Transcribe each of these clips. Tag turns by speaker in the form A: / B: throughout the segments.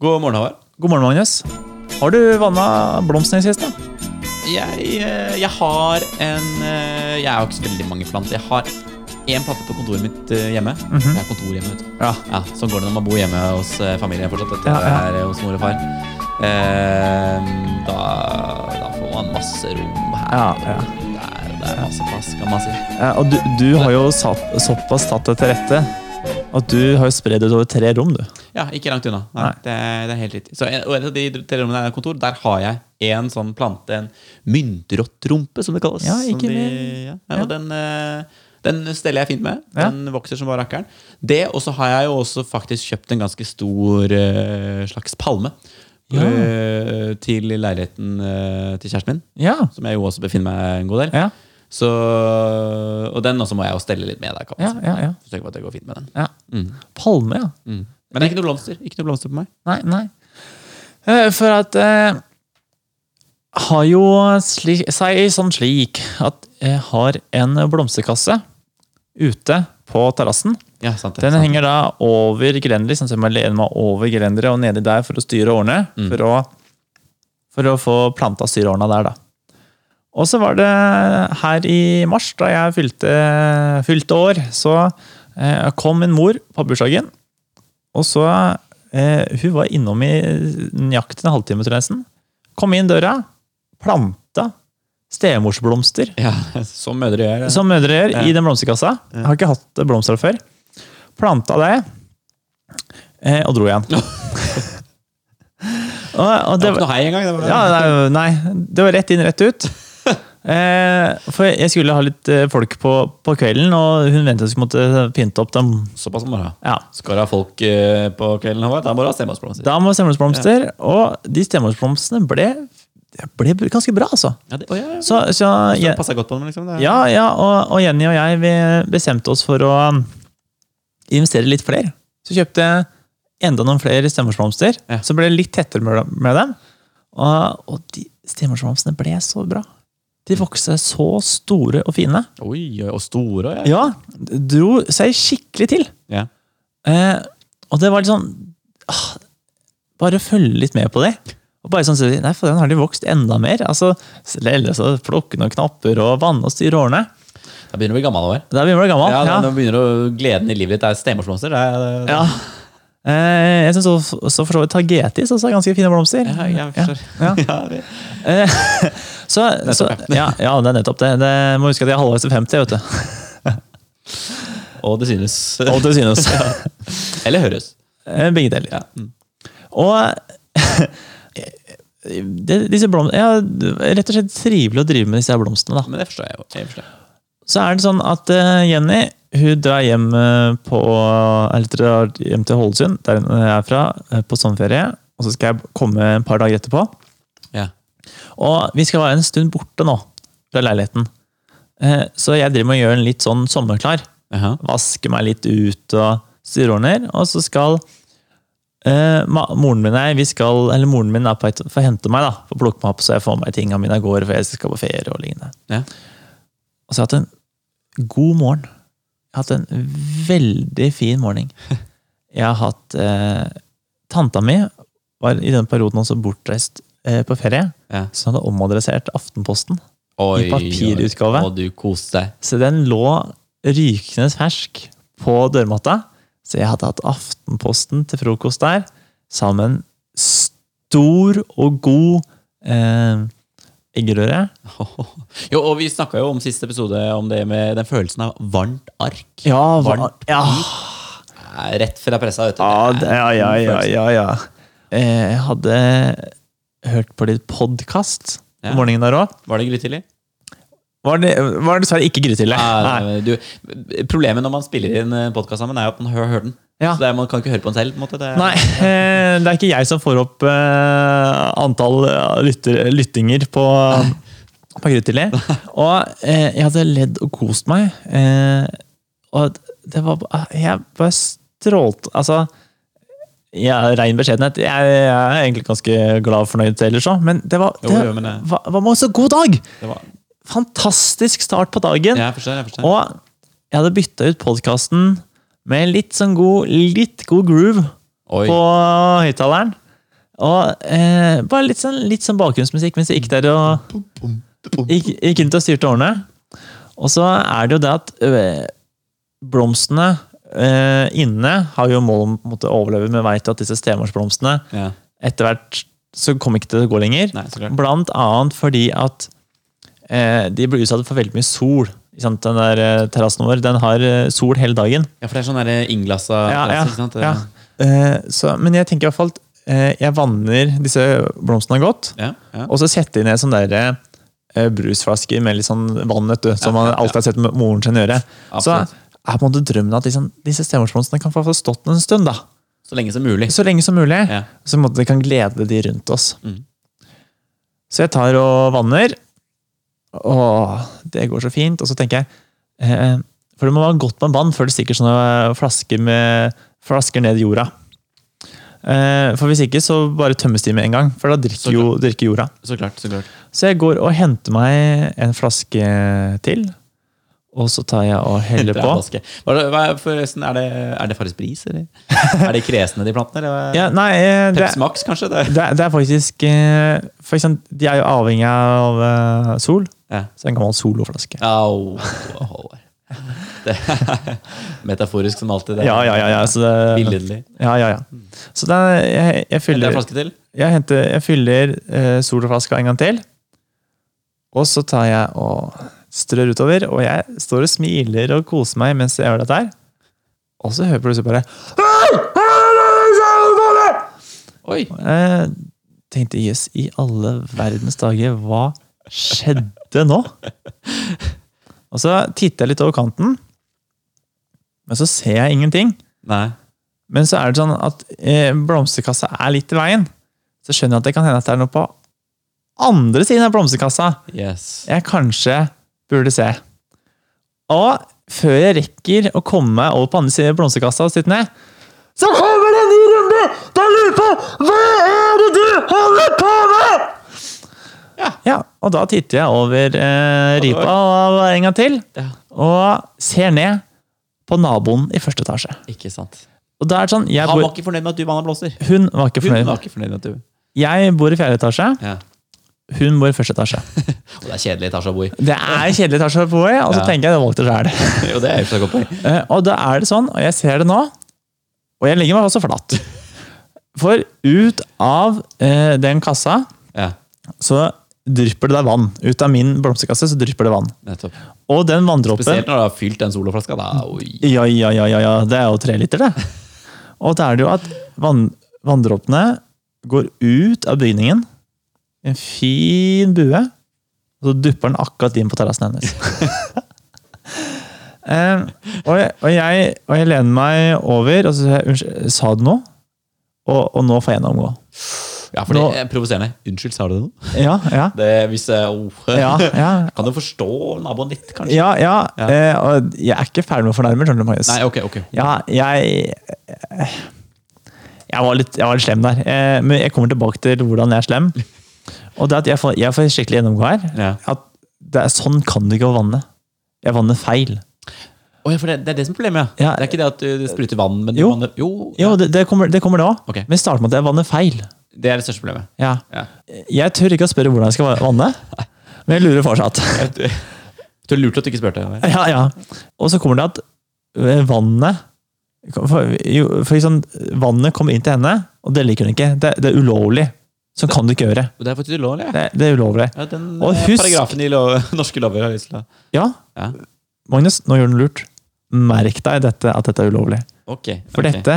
A: God morgen, Håvard.
B: God morgen, Magnus. Har du vanna blomstene i siste?
A: Jeg, eh, jeg har en eh, Jeg har ikke så veldig mange planter. Jeg har én plante på kontoret mitt eh, hjemme.
B: Mhm.
A: Jeg har kontor hjemme, vet du.
B: Ja.
A: Ja, sånn går det når man bor hjemme hos eh, familien fortsatt. Etter
B: Ja,
A: at jeg
B: ja.
A: er eh, hos mor og far. Eh, da, da får man masse rom her
B: Ja,
A: og
B: ja.
A: der. og Det er masse plass, kan man si.
B: Eh, Og du, du har jo sa- såpass tatt det til rette at du har jo spredd det utover tre rom, du.
A: Ja, ikke langt unna. Nei,
B: Nei.
A: Det, det er helt riktig. Så, en- og et av de tre rommene der er kontor. Der har jeg en sånn plante, en myntrottrumpe, som det kalles.
B: Ja, ikke
A: som de,
B: mer.
A: ja, ja,
B: Ja.
A: Og den, eh, den steller jeg fint med.
B: Ja.
A: Den vokser som bare rakkeren. Det, og så har jeg jo også faktisk kjøpt en ganske stor eh, slags palme. eh, Til leiligheten eh, til kjæresten min,
B: Ja.
A: som jeg jo også befinner meg en god del.
B: Ja.
A: Så, og den også må jeg jo stelle litt med. Der, kan
B: Ja,
A: man si.
B: ja, ja.
A: Så tenk på at det går fint med den.
B: ja. Palme, ja.
A: Mm. Men det er ikke noe blomster Ikke noe blomster på meg.
B: Nei, nei. Eh, For at eh, har jo sli- seg sånn slik at jeg har en blomsterkasse ute på terrassen.
A: Ja, sant det,
B: Den
A: sant.
B: henger da over gelenderet, sånn at jeg må lene meg over gelenderet og nedi der for å styre årene. For, å, for å få planta styreårene der, da. Og så var det her i mars, da jeg fylte, fylte år, så eh, kom min mor på bursdagen. Og så eh, Hun var innom i nøyaktig en halvtime, tror jeg. nesten. Kom inn døra, planta stemorsblomster
A: Ja, Sånn som mødre gjør.
B: som mødre gjør,
A: Ja.
B: i den blomsterkassa. Jeg har ikke hatt blomster før. Planta det, eh, og dro igjen. og, og
A: det
B: det,
A: var ikke
B: var-
A: noe hei engang. Det var,
B: ja, nei, nei, det var rett inn, rett ut. Eh, for jeg skulle ha litt eh, folk på, på kvelden, og hun ventet jeg skulle måtte pynte opp dem.
A: Såpass må du ha.
B: Ja.
A: Skal du ha folk eh, på kvelden, Håvard, da må du ha stemorsblomster.
B: Da må stemmeblomster, og de stemmeblomstene ble, ble ganske bra, altså.
A: Ja, det, å, ja, ja. Så,
B: Så, så, jeg,
A: passer godt på dem, liksom. Det.
B: Ja, ja og, og Jenny og jeg vi bestemte oss for å um, investere litt flere. Så kjøpte jeg enda noen flere stemmersblomster.
A: Ja.
B: Så ble det litt tettere med, med dem. Og, og de stemmersblomstene ble så bra. De vokste så store og fine.
A: Oi, oi, og store òg, ja.
B: Ja, dro seg skikkelig til.
A: Ja.
B: Eh, og det var litt sånn ah, Bare følge litt med på det. Og bare sånn, sier de, Nei, for den har de vokst enda mer. Altså, Ellers så plukke noen knapper og vanne og styre årene.
A: Da begynner du å bli gammel, Håvard.
B: Da blir man gammel.
A: Ja, nå- Nå begynner du, gleden i livet ditt er stemorsblomster. Det er, det,
B: Ja. Eh, jeg syns også, også for så vidt Tagetis også er ganske fine blomster.
A: Ja, jeg forstår.
B: Ja.
A: Ja, det-
B: Så, så, ja, ja, det er nettopp det. det må huske at jeg er halvveis til 50, vet du.
A: og det synes.
B: Og til synes.
A: Eller høres.
B: Eh, Begge deler.
A: Ja. Mm.
B: Og det, disse blomstene Ja, rett og slett trivelig å drive med disse her blomstene, da.
A: Men det forstår jeg jo. Jeg forstår.
B: Så er det sånn at eh, Jenny hun drar hjem eh, på Eller drar hjem til Ålesund, der hun er fra, eh, på sommerferie. Og så skal jeg komme et par dager etterpå.
A: Ja.
B: Og vi skal være en stund borte nå fra leiligheten. Eh, Så jeg driver med å gjøre en litt sånn sommerklar.
A: Jaha.
B: Vaske meg litt ut og styre ordner. Og så skal eh, ma- moren min og jeg, vi skal, eller moren min er på et, får hente meg da, og plukke meg opp, så jeg får med meg tingene mine av gårde, for jeg skal på ferie og lignende.
A: Ja.
B: Og så har jeg hatt en god morgen. Jeg har hatt en veldig fin morgen. Jeg har hatt eh, Tanta mi var i den perioden også bortreist eh, på ferie.
A: Ja.
B: Så hun hadde omadressert Aftenposten.
A: Oi,
B: papirutgave.
A: oi, Og du koste deg.
B: Så den lå rykende fersk på dørmatta. Så jeg hadde hatt Aftenposten til frokost der, sammen stor og god eh, eggerøre.
A: Jo, og vi snakka jo om siste episode om det med den følelsen av varmt ark.
B: Ja,
A: hva-
B: ja.
A: Eh, Rett fra pressa, vet du.
B: Ja,
A: Det
B: det,
A: er
B: ja, ja,
A: en
B: ja,
A: følelse.
B: ja, ja. Eh, Jeg hadde hørt på litt podkast
A: Ja.
B: om morgenen der òg.
A: Var det grytidlig?
B: Var det var det dessverre ikke grytidlig.
A: Ah, Nei,
B: Nei.
A: nei, du, Problemet når man spiller inn podkast sammen, er jo at man hører, hører den.
B: Ja.
A: Så det er, Man kan ikke høre på den selv. på en måte. Det er,
B: Nei, eh, det er ikke jeg som får opp eh, antall eh, lytter, lyttinger på, på Grytidlig. Og eh, jeg hadde ledd og kost meg. eh, Og det var ba- Jeg bare strålte Altså, jeg er rein beskjedenhet. Jeg, jeg er egentlig ganske glad og fornøyd ellers òg, men det var,
A: Jo,
B: det,
A: jo, men det-
B: var, var bare så god dag!
A: Det var,
B: Fantastisk start på dagen.
A: jeg forstår. jeg forstår.
B: Og jeg hadde bytta ut podkasten med litt sånn god, litt god groove
A: Oi,
B: på høyttaleren. Og eh, bare litt sånn, litt sånn bakgrunnsmusikk mens jeg gikk der og gikk, gikk rundt og styrte årene. Og så er det jo det at ø, blomstene ø, inne har jo mål om å måtte overleve, men veit at disse stemorsblomstene
A: Ja.
B: etter hvert så kommer ikke til å gå lenger.
A: Nei, så klart.
B: Blant annet fordi at eh, de blir utsatt for veldig mye sol. Ikke Sant? Den der eh, terrassen vår den har eh, sol hele dagen.
A: ja, for det er sånn der innglassa
B: Ja, ja,
A: ikke sant?
B: ja. Eh, så, men jeg tenker i hvert fall at eh, jeg vanner disse blomstene godt.
A: Ja, ja.
B: Og så setter jeg ned sånne der, eh, brusflasker med litt sånn vann, vet du, som man alltid har sett med moren sin gjøre. Så
A: Absolutt.
B: er på en måte drømmen at liksom, disse stemorsblomstene kan få få stått en stund. da.
A: Så lenge som mulig.
B: Så lenge som mulig.
A: Ja.
B: Så på en måte det kan glede de rundt oss.
A: Mm.
B: Så jeg tar og vanner. Åh, det går så fint. Og så tenker jeg eh, For det må være godt med vann før det stikker sånne flasker, med, flasker ned i jorda. Eh, for hvis ikke, så bare tømmes de med en gang. For da drikker, jo, drikker jorda.
A: Så klart. så klart.
B: Så jeg går og henter meg en flaske til. Og så tar jeg og heller
A: Det er
B: på.
A: vaske. Hva er det, hva er, forresten, er det, er det Farris Bris, eller? er det kresne, de plantene? Eller?
B: Ja, nei, eh, det,
A: Peps Max, kanskje? Det?
B: det, er- det er faktisk eh, for eksempel, De er jo avhengig av eh, sol.
A: Ja.
B: Så en gammel soloflaske.
A: Au, Håvard. Det er metaforisk som alltid. Det er
B: Ja, ja, ja. ja, så det,
A: Billedlig.
B: ja, ja, ja. Så det, er- jeg, jeg
A: Det er
B: fyller,
A: flaske til?
B: jeg henter, jeg fyller eh, soloflaska en gang til. Og så tar jeg og strør utover, og jeg står og smiler og koser meg mens jeg gjør dette her. Og så hører jeg plutselig bare
A: Oi!
B: eh, Tenkte jøss, i alle verdens dager, hva skjedde nå? Og så titter jeg litt over kanten, men så ser jeg ingenting.
A: Nei.
B: Men så er det sånn at eh, blomsterkassa er litt i veien. Så skjønner jeg at det kan hende at det er noe på andre siden av blomsterkassa
A: Yes.
B: jeg kanskje burde se. Og før jeg rekker å komme meg over på andre siden av blomsterkassa og sitte ned, så kommer det en ny runde! Da lurer jeg på Hva er det du holder på med?! Ja, ja og da titter jeg over eh, ripa og en gang til,
A: Ja.
B: og ser ned på naboen i første etasje.
A: Ikke sant.
B: Og da er det sånn jeg
A: Han
B: bor,
A: var ikke fornøyd med at du vanna blomster.
B: Hun var ikke
A: Hun
B: fornøyd.
A: var ikke fornøyd med at du
B: Jeg bor i fjerde etasje,
A: ja.
B: hun bor i første etasje.
A: Og det er kjedelig etasje å bo i.
B: Det er kjedelig etasje å bo i, og så
A: Ja.
B: tenker jeg det valgte sjæl.
A: Jo, det er jo så godt poeng.
B: Eh, Og da er det sånn, og jeg ser det nå, og jeg legger meg også flatt. For ut av eh, den kassa
A: Ja,
B: så drypper det da vann. Ut av min blomsterkasse så drypper det vann.
A: nettopp.
B: Og den vanndråpen
A: Spesielt når du har fylt den soloflaska. Da. Oi.
B: Ja, ja, ja, ja, ja, det er jo tre liter, det. Og da er det jo at vann, vanndråpene går ut av bygningen. En fin bue. Og så dupper den akkurat inn på terrassen hennes. Eh, og, jeg, og, jeg, og jeg lener meg over og så sier jeg unnskyld, sa du noe? Og, og nå får jeg gjennomgå.
A: Ja, for det
B: Nå-
A: er provoserende. Unnskyld, sa du noe?
B: Ja, ja.
A: Det, hvis, jeg- oh.
B: Ja, ja.
A: Kan du forstå naboen litt, kanskje?
B: ja, ja.
A: Ja.
B: Eh, og jeg er ikke ferdig med å fornærme, skjønner du, Marius.
A: Nei, ok, ok.
B: Ja, jeg jeg var, litt, jeg var litt slem der. Eh, Men jeg kommer tilbake til hvordan jeg er slem. Og det at jeg får, jeg får skikkelig gjennomgå her.
A: Ja.
B: At det er, sånn kan du ikke vanne. Jeg vanner feil.
A: Å ja, for det, det er det som er problemet, ja.
B: Ja.
A: Det er ikke det at du spruter vann, men
B: Jo.
A: jo. Vann, jo,
B: Jo, det, det kommer det òg.
A: Ok.
B: Men start med at jeg vanner feil.
A: Det er det største problemet.
B: Ja.
A: Ja.
B: Jeg tør ikke å spørre hvordan jeg skal vanne, men jeg lurer fortsatt.
A: Du, du lurte at du ikke spurte. eller?
B: Ja, ja. Og så kommer det at eh, vannet For, jo, for liksom, vannet kommer inn til henne, og det liker hun ikke. Det, det er ulovlig. Sånn kan du ikke gjøre.
A: Og det er faktisk ulovlig. Ja.
B: Det, det er ulovlig.
A: Ja, den
B: Og
A: eh,
B: husk-
A: paragrafen i lov, norske lover har lyst til å
B: Ja,
A: ja.
B: Magnus, nå gjør du lurt. Merk deg dette, at dette er ulovlig.
A: Ok.
B: For
A: ok.
B: dette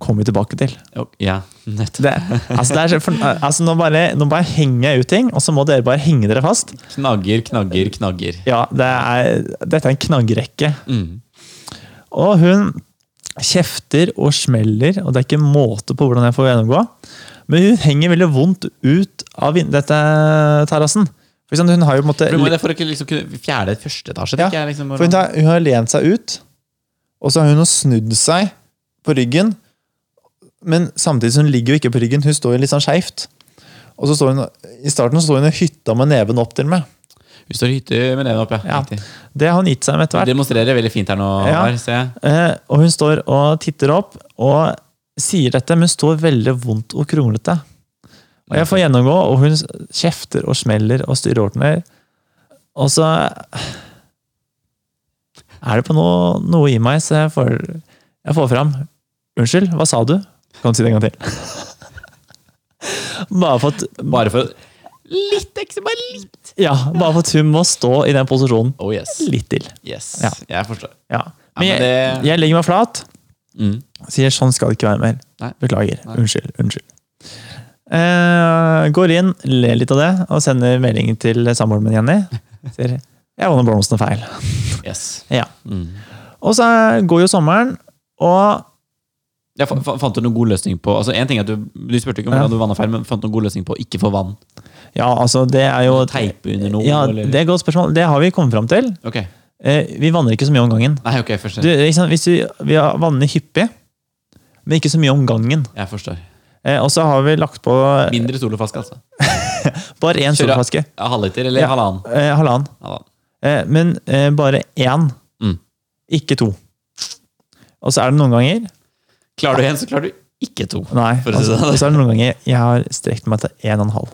B: kommer vi tilbake til.
A: Ok, Ja, nettopp.
B: Det, altså det er, så- for, altså nå, bare, nå bare henger jeg ut ting, og så må dere bare henge dere fast.
A: Knagger, knagger, knagger.
B: Ja, det er, Dette er en knaggrekke.
A: Mm.
B: Og hun kjefter og smeller, og det er ikke måte på hvordan jeg får gjennomgå. Men hun henger veldig vondt ut av vin- dette terrassen. For eksempel, hun har jo på en måte...
A: For du må, det er for å ikke liksom kunne fjerde første etasje,
B: Ja,
A: tenker jeg. Liksom,
B: For hun, tar, hun har lent seg ut, og så har hun snudd seg på ryggen. Men samtidig så hun ligger jo ikke på ryggen, hun står jo litt sånn skeivt. Og så står hun, I starten så står hun og hytta med neven opp til meg.
A: Hun står i hytte med neven opp, ja.
B: Ja.
A: Riktig.
B: Det har hun gitt seg med etter
A: Du
B: hvert. Eh,
A: demonstrerer veldig fint her nå,
B: Ja.
A: Håvard, ser jeg.
B: Eh, og hun står og titter opp og sier dette, men står veldig vondt og kronglete. Og jeg får gjennomgå, og hun kjefter og smeller og styrer ordner. Og så er det på noe, noe i meg, så jeg får, jeg får fram Unnskyld, hva sa du? Kan du si det en gang til? Bare for at
A: Bare for Litt ekstra, bare litt!
B: ja, bare for at hun må stå i den posisjonen
A: Oh yes.
B: litt til.
A: yes.
B: Ja.
A: Jeg forstår.
B: Ja.
A: men
B: Men jeg,
A: det-
B: jeg legger meg flat,
A: Mm.
B: sier sånn skal det ikke være mer.
A: Nei.
B: Beklager.
A: Nei.
B: Unnskyld. Unnskyld. Eh, går inn, ler litt av det, og sender melding til samboeren min Jenny. Sier 'jeg våkna blomsten feil'.
A: Yes.
B: Ja.
A: Mm.
B: Og så eh, går jo sommeren, og
A: Ja, fa- fa- fant du noen god løsning på Altså en ting er at Du, du spurte ikke om
B: Ja.
A: hvordan du vannet feil, men fant du noen god løsning på å ikke få vann?
B: ja, altså, det er jo
A: Teipe under noe?
B: Ja,
A: eller?
B: det er et godt spørsmål. Det har vi kommet fram til.
A: Ok.
B: Eh, vi vanner ikke så mye om gangen.
A: Nei, ok, jeg
B: Du,
A: forstår.
B: ikke sant? Hvis vi, vi vanner hyppig, men ikke så mye om gangen.
A: Jeg forstår.
B: Eh, og så har vi lagt på
A: Mindre solflaske, altså.
B: bare én
A: Kjør, ja.
B: solflaske.
A: Ja, Halvliter eller
B: Ja.
A: halvannen.
B: Eh, halvannen.
A: halvannen.
B: Eh, men eh, bare én,
A: Mm.
B: ikke to. Og så er det noen ganger
A: Klarer du én, så klarer du ikke to.
B: Nei,
A: For å si det
B: altså,
A: sånn.
B: og så er det noen ganger jeg har strekt meg til én og en halv.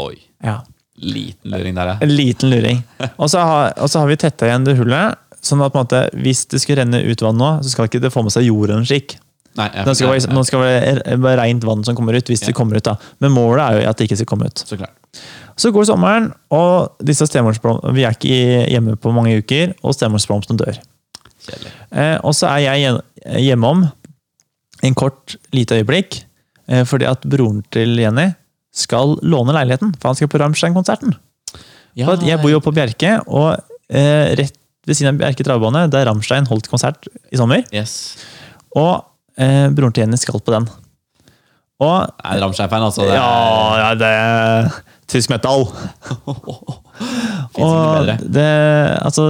A: Oi.
B: Ja.
A: Liten luring der, ja.
B: En liten luring. Og så har, og så har vi tetta igjen det hullet, sånn at på en måte, hvis det skulle renne ut vann nå, så skal ikke det få med seg jorden skikk.
A: Nei, jeg
B: Nå skal
A: forstår.
B: det være- nå skal det være bare rent vann som kommer ut, hvis det kommer ut. da. Men målet er jo at det ikke skal komme ut.
A: Så klart.
B: Så går sommeren, og disse stemorsblom- vi er ikke i- hjemme på mange uker, og stemorsblomstene dør.
A: Kjedelig.
B: Eh, og så er jeg gjen- hjemom en kort, lite øyeblikk, eh, fordi at broren til Jenny skal låne leiligheten, for han skal på Rammstein-konserten. For at jeg bor jo på Bjerke, og eh, rett ved siden av Bjerke travbane, der Rammstein holdt konsert i sommer,
A: Yes.
B: og eh, broren til Jenny skal på den. Og
A: Jeg er Ramstein-fan, altså. Det er...
B: ja, ja, det er tysk metal.
A: Fins ikke bedre.
B: Og det, altså,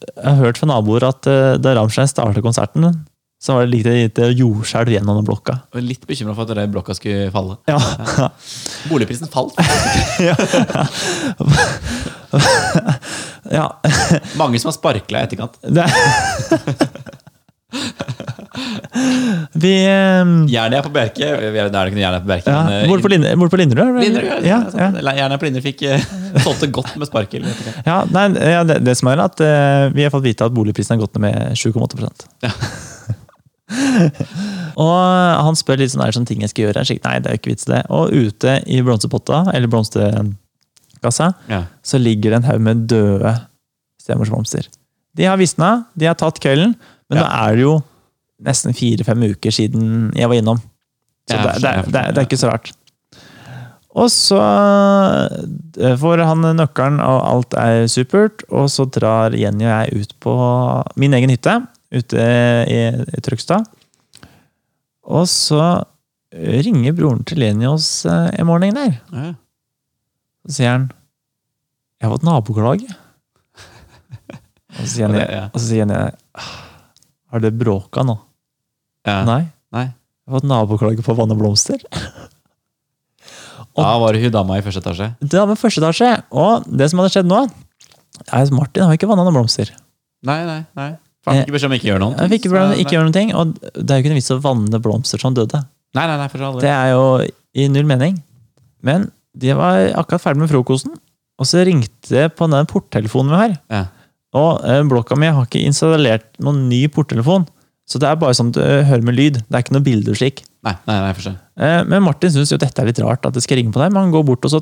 B: jeg har hørt fra naboer at eh, da Rammstein startet konserten, så var det lite, lite jordskjelv gjennom den blokka.
A: Jeg var litt bekymra for at den blokka skulle falle.
B: Ja.
A: Boligprisen falt.
B: ja
A: Mange som har sparkla i etterkant.
B: det, vi eh,
A: Jernet er på Bjerke. Vi er- Det er det ikke noe jern her på Bjerke.
B: ja,
A: men, eh,
B: Bor på Lind- bor på Linderud? eller?
A: Lindre, ja,
B: Ja, ja.
A: sant. Jernet på Lindre fikk eh, solgt det godt med sparkel. i etterkant.
B: Ja, nei, ja, det, det som er at eh, vi har fått vite at boligprisen har gått ned med 7,8
A: Ja.
B: Og han spør litt sånn, er det sånne ting jeg skal gjøre. Jeg sier, nei, det er jo ikke vits i det. Og ute i blomsterpotta, eller blomsterkassa,
A: Ja.
B: så ligger det en haug med døde stemorsblomster. De har visna, de har tatt kvelden, men
A: Ja.
B: nå er det jo nesten fire-fem uker siden jeg var innom. Så
A: Jeg
B: det,
A: forstår,
B: det,
A: jeg
B: det, det er
A: forstår.
B: ikke så rart. Og så eh, får han nøkkelen, og alt er supert. Og så drar Jenny og jeg ut på min egen hytte ute i, i Trøgstad. Og så ringer broren til Jenny oss eh, en morgen der.
A: Ja.
B: Så sier han Jeg har fått naboklage. Og så sier
A: Ja,
B: Jenny,
A: det- ja.
B: og så sier Jenny «Ah, Har det bråka nå?
A: Ja.
B: Nei.
A: Nei.
B: Jeg har fått naboklage på vann og blomster.
A: Da var det hun dama i første etasje.
B: Det var med første etasje. Og det som hadde skjedd nå, er at Martin har ikke vanna noen blomster.
A: Nei, nei, nei. Faen, jeg fikk beskjed om ikke gjør noe.
B: Jeg fikk ikke, blande- ikke gjøre noen ting, og det er jo ikke noen vits å vanne blomster som døde.
A: Nei, nei, nei, for all del.
B: Det er jo i null mening. Men de var akkurat ferdig med frokosten, og så ringte det på den porttelefonen vi har.
A: Ja.
B: Og eh, blokka mi har ikke installert noen ny porttelefon, så det er bare sånn at du eh, hører med lyd. Det er ikke noe bilder slik.
A: Nei, nei, nei, jeg forstår.
B: Eh, men Martin syns jo dette er litt rart, at det skal ringe på deg, men han går bort, og så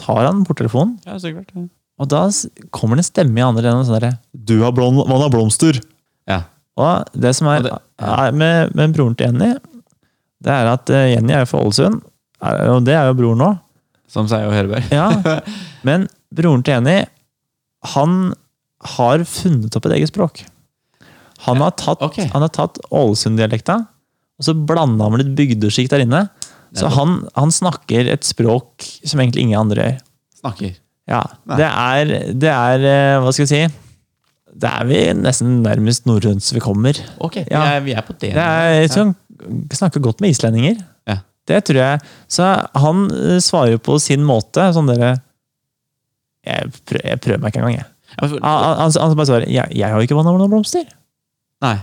B: tar han porttelefonen,
A: Ja, så klart. Ja.
B: og da s- kommer det en stemme i andre enden og sånn derre Du har blond, vann av blomster!
A: Ja.
B: Og det som
A: Og
B: er,
A: det- ja.
B: er med, med broren til Jenny, det er at eh, Jenny er jo fra Ålesund, er- og det er jo broren nå.
A: Som sier jo Høreberg.
B: Ja, men broren til Jenny, han har funnet opp et eget språk. Han har tatt,
A: ok.
B: han har tatt Ålesund-dialekta, og så blanda han med litt bygdeskikk der inne. Så
A: Nettopp.
B: han, han snakker et språk som egentlig ingen andre gjør.
A: Snakker.
B: Ja,
A: Nei.
B: det er, det er eh, Hva skal vi si? Det er vi nesten nærmest norrønt vi kommer.
A: Ok, vi,
B: Ja.
A: er, vi er på det.
B: Det er sånn, Snakker godt med islendinger.
A: Ja.
B: Det tror jeg. Så han eh, svarer jo på sin måte. Sånn dere Jeg, prø- jeg prøver meg ikke engang, jeg.
A: Ja, men for-
B: Han, han, han bare svarer jeg, 'Jeg har jo ikke vanna noen blomster'.
A: Nei.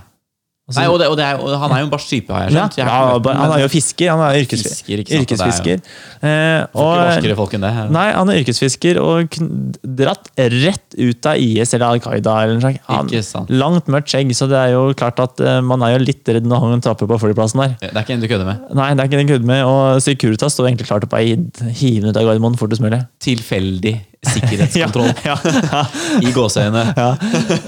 B: Altså-
A: Nei, og, det, og, det er, og han er jo en barskskipe, har jeg
B: Ja,
A: skjønt. Jeg har
B: ja,
A: ikke møtt ham,
B: han er
A: men
B: jo fisker. Han er yrkesfisker.
A: Fisker, ikke sant,
B: yrkesfisker.
A: det
B: Eh,
A: Ikke
B: og,
A: barskere folk enn det.
B: nei, han er yrkesfisker og kn- dratt rett ut av IS eller Al Qaida. Eller noe. sånt.
A: Ikke
B: Han,
A: sant.
B: langt mørkt skjegg, så det er jo klart at eh, man er jo litt redd når han trapper på flyplassen der.
A: Det er ikke en du kødder med.
B: Nei, det er ikke den kødden med. Og Securitas står egentlig klart til å bare hi- hive den ut av Gardermoen fortest mulig.
A: Tilfeldig sikkerhetskontroll
B: Ja, ja,
A: i gåseøyne.
B: ja.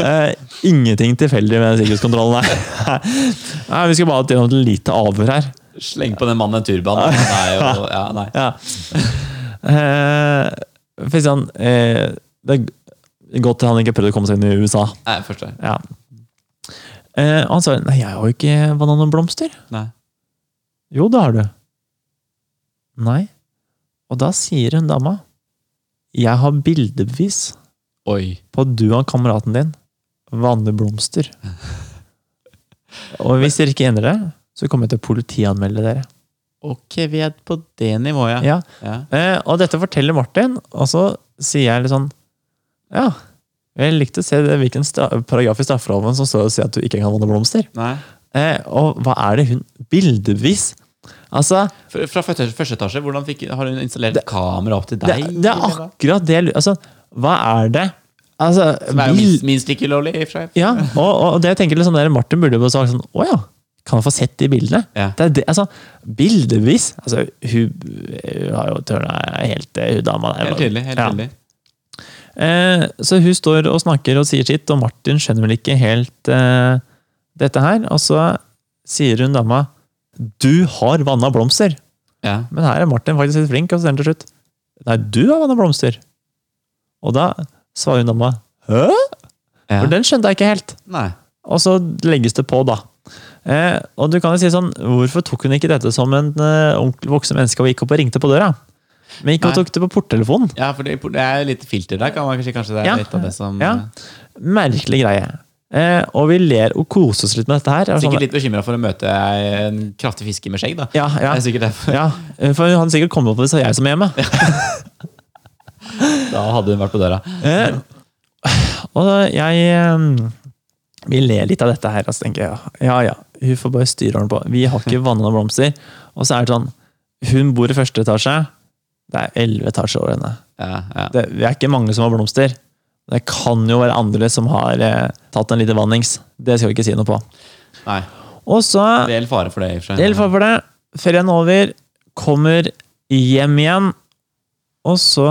B: Eh, ingenting tilfeldig med sikkerhetskontrollen her. Nei, vi skal bare til et lite avhør her.
A: Sleng på den mannen en turban. Det er jo, ja, nei.
B: Ja. Eh, for eksempel, eh, det er godt at han ikke prøvde å komme seg inn i USA.
A: Nei, forstår.
B: Ja. Eh, og han sa nei, jeg har jo ikke bananblomster.
A: Nei.
B: Jo, det har du. Nei. Og da sier hun dama jeg har bildebevis
A: Oi.
B: på at du og kameraten din vanner blomster. Og hvis dere ikke endrer det, så kommer jeg til å politianmelde dere.
A: Ok, vi er på det nivået, ja.
B: Ja,
A: ja.
B: Eh, og dette forteller Martin, og så sier jeg litt sånn Ja, jeg likte å se det, hvilken stra paragraf i straffeloven som står og sier at du ikke kan vanne blomster.
A: Nei.
B: Eh, og hva er det hun Bildebevis! Altså,
A: Fra fra første, første etasje, hvordan fikk, har hun installert kamera opp til
B: det,
A: deg?
B: det er akkurat det jeg lurer Altså, hva er det? Altså,
A: Det er jo
B: bil-
A: minst, minst like ulovlig, i og for seg.
B: Ja, og, og det jeg tenker liksom der Martin burde jo sagt sånn Å ja, kan jeg få sett de bildene?
A: Ja.
B: Det er det, altså, bildevis Altså, hun, hun har jo tørna helt eh, Hun dama der.
A: Helt tydelig. helt
B: Ja.
A: tydelig.
B: Eh, så hun står og snakker og sier sitt, og Martin skjønner vel ikke helt eh, dette her. Og så sier hun dama 'Du har vanna blomster'.
A: Ja.
B: Men her er Martin faktisk litt flink, og så sier han til slutt 'Nei, du har vanna blomster'. Og da svarer hun dama 'Hæ?'
A: Ja.
B: For den skjønte jeg ikke helt.
A: Nei.
B: Og så legges det på, da. Eh, og du kan jo si sånn, hvorfor tok hun ikke dette som en eh, onkel voksen menneske og gikk opp og ringte på døra? Men ikke
A: Nei.
B: hun tok det på porttelefonen.
A: Ja, for det det er litt filter der. kan man kanskje, kanskje det er
B: Ja.
A: litt av det som
B: Ja. Merkelig greie. Eh, og vi ler og koser oss litt med dette her. Og sånn-
A: Sikkert litt bekymra for å møte en kraftig fisker med skjegg, da.
B: Ja, ja,
A: Det er sikkert derfor.
B: ja, for han sikkert kom opp og sa jeg som er hjemme.
A: Da hadde hun vært på døra.
B: Eh, og jeg eh, Vi ler litt av dette her, og så tenker jeg ja ja, hun får bare styre ordentlig på. Vi har ikke vanna noen blomster. Og så er det sånn, hun bor i første etasje. Det er elleve etasjer over henne.
A: Ja, ja.
B: det, vi er ikke mange som har blomster. Det kan jo være andre som har eh, tatt en liten vannings. Det skal vi ikke si noe på.
A: Nei,
B: Og så,
A: Reell fare for det. i og for seg.
B: del for for det, ferien over, kommer hjem igjen, og så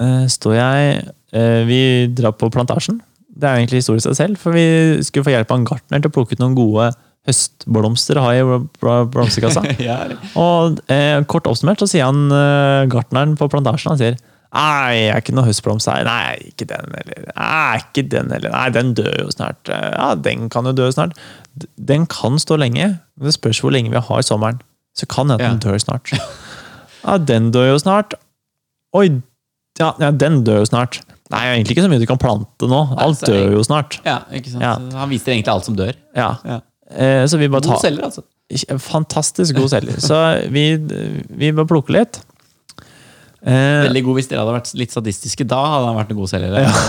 B: eh, står jeg eh, Vi drar på plantasjen. Det er jo egentlig historie i seg selv, for vi skulle få hjelp av en gartner til å plukke ut noen gode høstblomster å ha i bl- bl- blomsterkassa.
A: ja,
B: Og eh, kort oppsummert så sier han eh, gartneren på plantasjen han sier Nei, jeg er ikke noe høstblomst her. Nei, ikke den heller. Nei, ikke den heller. Nei, den dør jo snart. Ja, den kan jo dø snart. D- Den kan stå lenge, men det spørs hvor lenge vi har sommeren. Så kan hende den dør snart. Ja, den dør jo snart. Oi, ja, ja, den dør jo snart. Nei, egentlig ikke så mye du kan plante nå. Alt
A: så-
B: dør jo snart.
A: ja, ikke sant?
B: Ja.
A: Han viser egentlig alt som dør.
B: Ja.
A: Ja.
B: Eh, så vi bare
A: God
B: tar
A: selger, altså.
B: Fantastisk god selger. Så vi, vi må plukke litt. Eh,
A: Veldig god hvis dere hadde vært litt sadistiske. Da hadde han vært en god selger.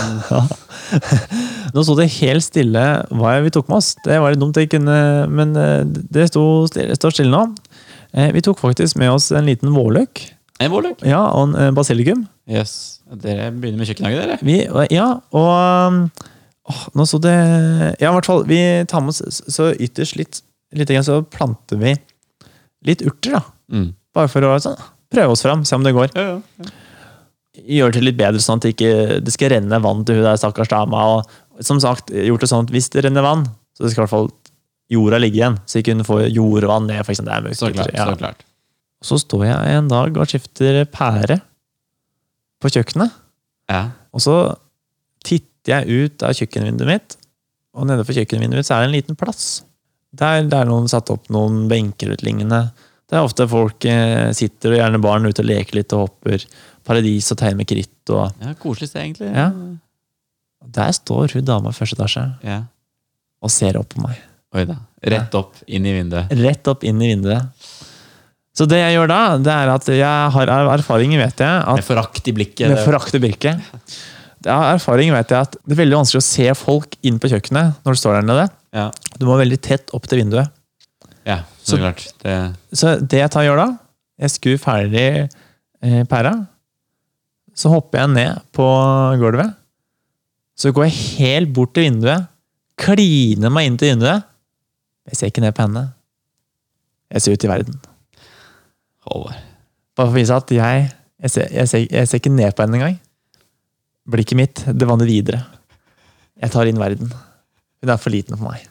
A: Men
B: nå sto det helt stille hva vi tok med oss. Det var litt dumt, jeg kunne, men eh, det sto stille, står stille nå. Eh, vi tok faktisk med oss en liten vårløk
A: En vårløk.
B: ja, og en eh, basilikum.
A: Jøss. Dere begynner med kjøkkenhage, dere.
B: Vi, ja, og um, åh, Nå sto det Ja, i hvert fall. Vi tar med oss så ytterst litt, litt grann, så planter vi litt urter, da.
A: Mm.
B: Bare for å sånn, prøve oss fram, se om det går.
A: Ja, ja.
B: gjøre det til litt bedre, sånn at det ikke det skal renne vann til hun der stakkars dama. Og som sagt, gjort det sånn at hvis det renner vann, så skal i hvert fall jorda ligge igjen. Så ikke hun får jordvann ned, for eksempel. Det er mørkt.
A: Så klart.
B: ja.
A: Så klart.
B: Så står jeg en dag og skifter pære på kjøkkenet,
A: Ja.
B: og så titter jeg ut av kjøkkenvinduet mitt, og nede for kjøkkenvinduet mitt så er det en liten plass. Der, der noen satt opp noen benker ut lignende. Der ofte folk eh, sitter, og gjerne barn, ute og leker litt og hopper. Paradis og tegner med kritt og
A: ja, Koselig sted, egentlig.
B: Ja. Der står hun dama i første etasje
A: Ja.
B: og ser opp på meg.
A: Oi da. Rett opp, inn i vinduet.
B: Rett opp inn i vinduet. Så det jeg gjør da, det er at jeg har av erfaringer, vet jeg,
A: Med
B: at
A: forakt i blikket.
B: med
A: det-
B: forakt i blikket. Det er erfaring vet jeg at det er veldig vanskelig å se folk inn på kjøkkenet når du står der nede.
A: Ja.
B: Du må veldig tett opp til vinduet.
A: ja så,
B: Så-
A: klart. Det,
B: Så det jeg tar og gjør da, jeg skur ferdig eh, pæra, så hopper jeg ned på gulvet, så går jeg helt bort til vinduet, kliner meg inn til vinduet, jeg ser ikke ned på henne. Jeg ser ut i verden.
A: Håvard.
B: Bare for å vise at jeg, jeg, ser, jeg, ser, jeg ser ikke ned på henne engang. Blikket mitt, det vandrer videre. Jeg tar inn verden. Hun er for liten for meg.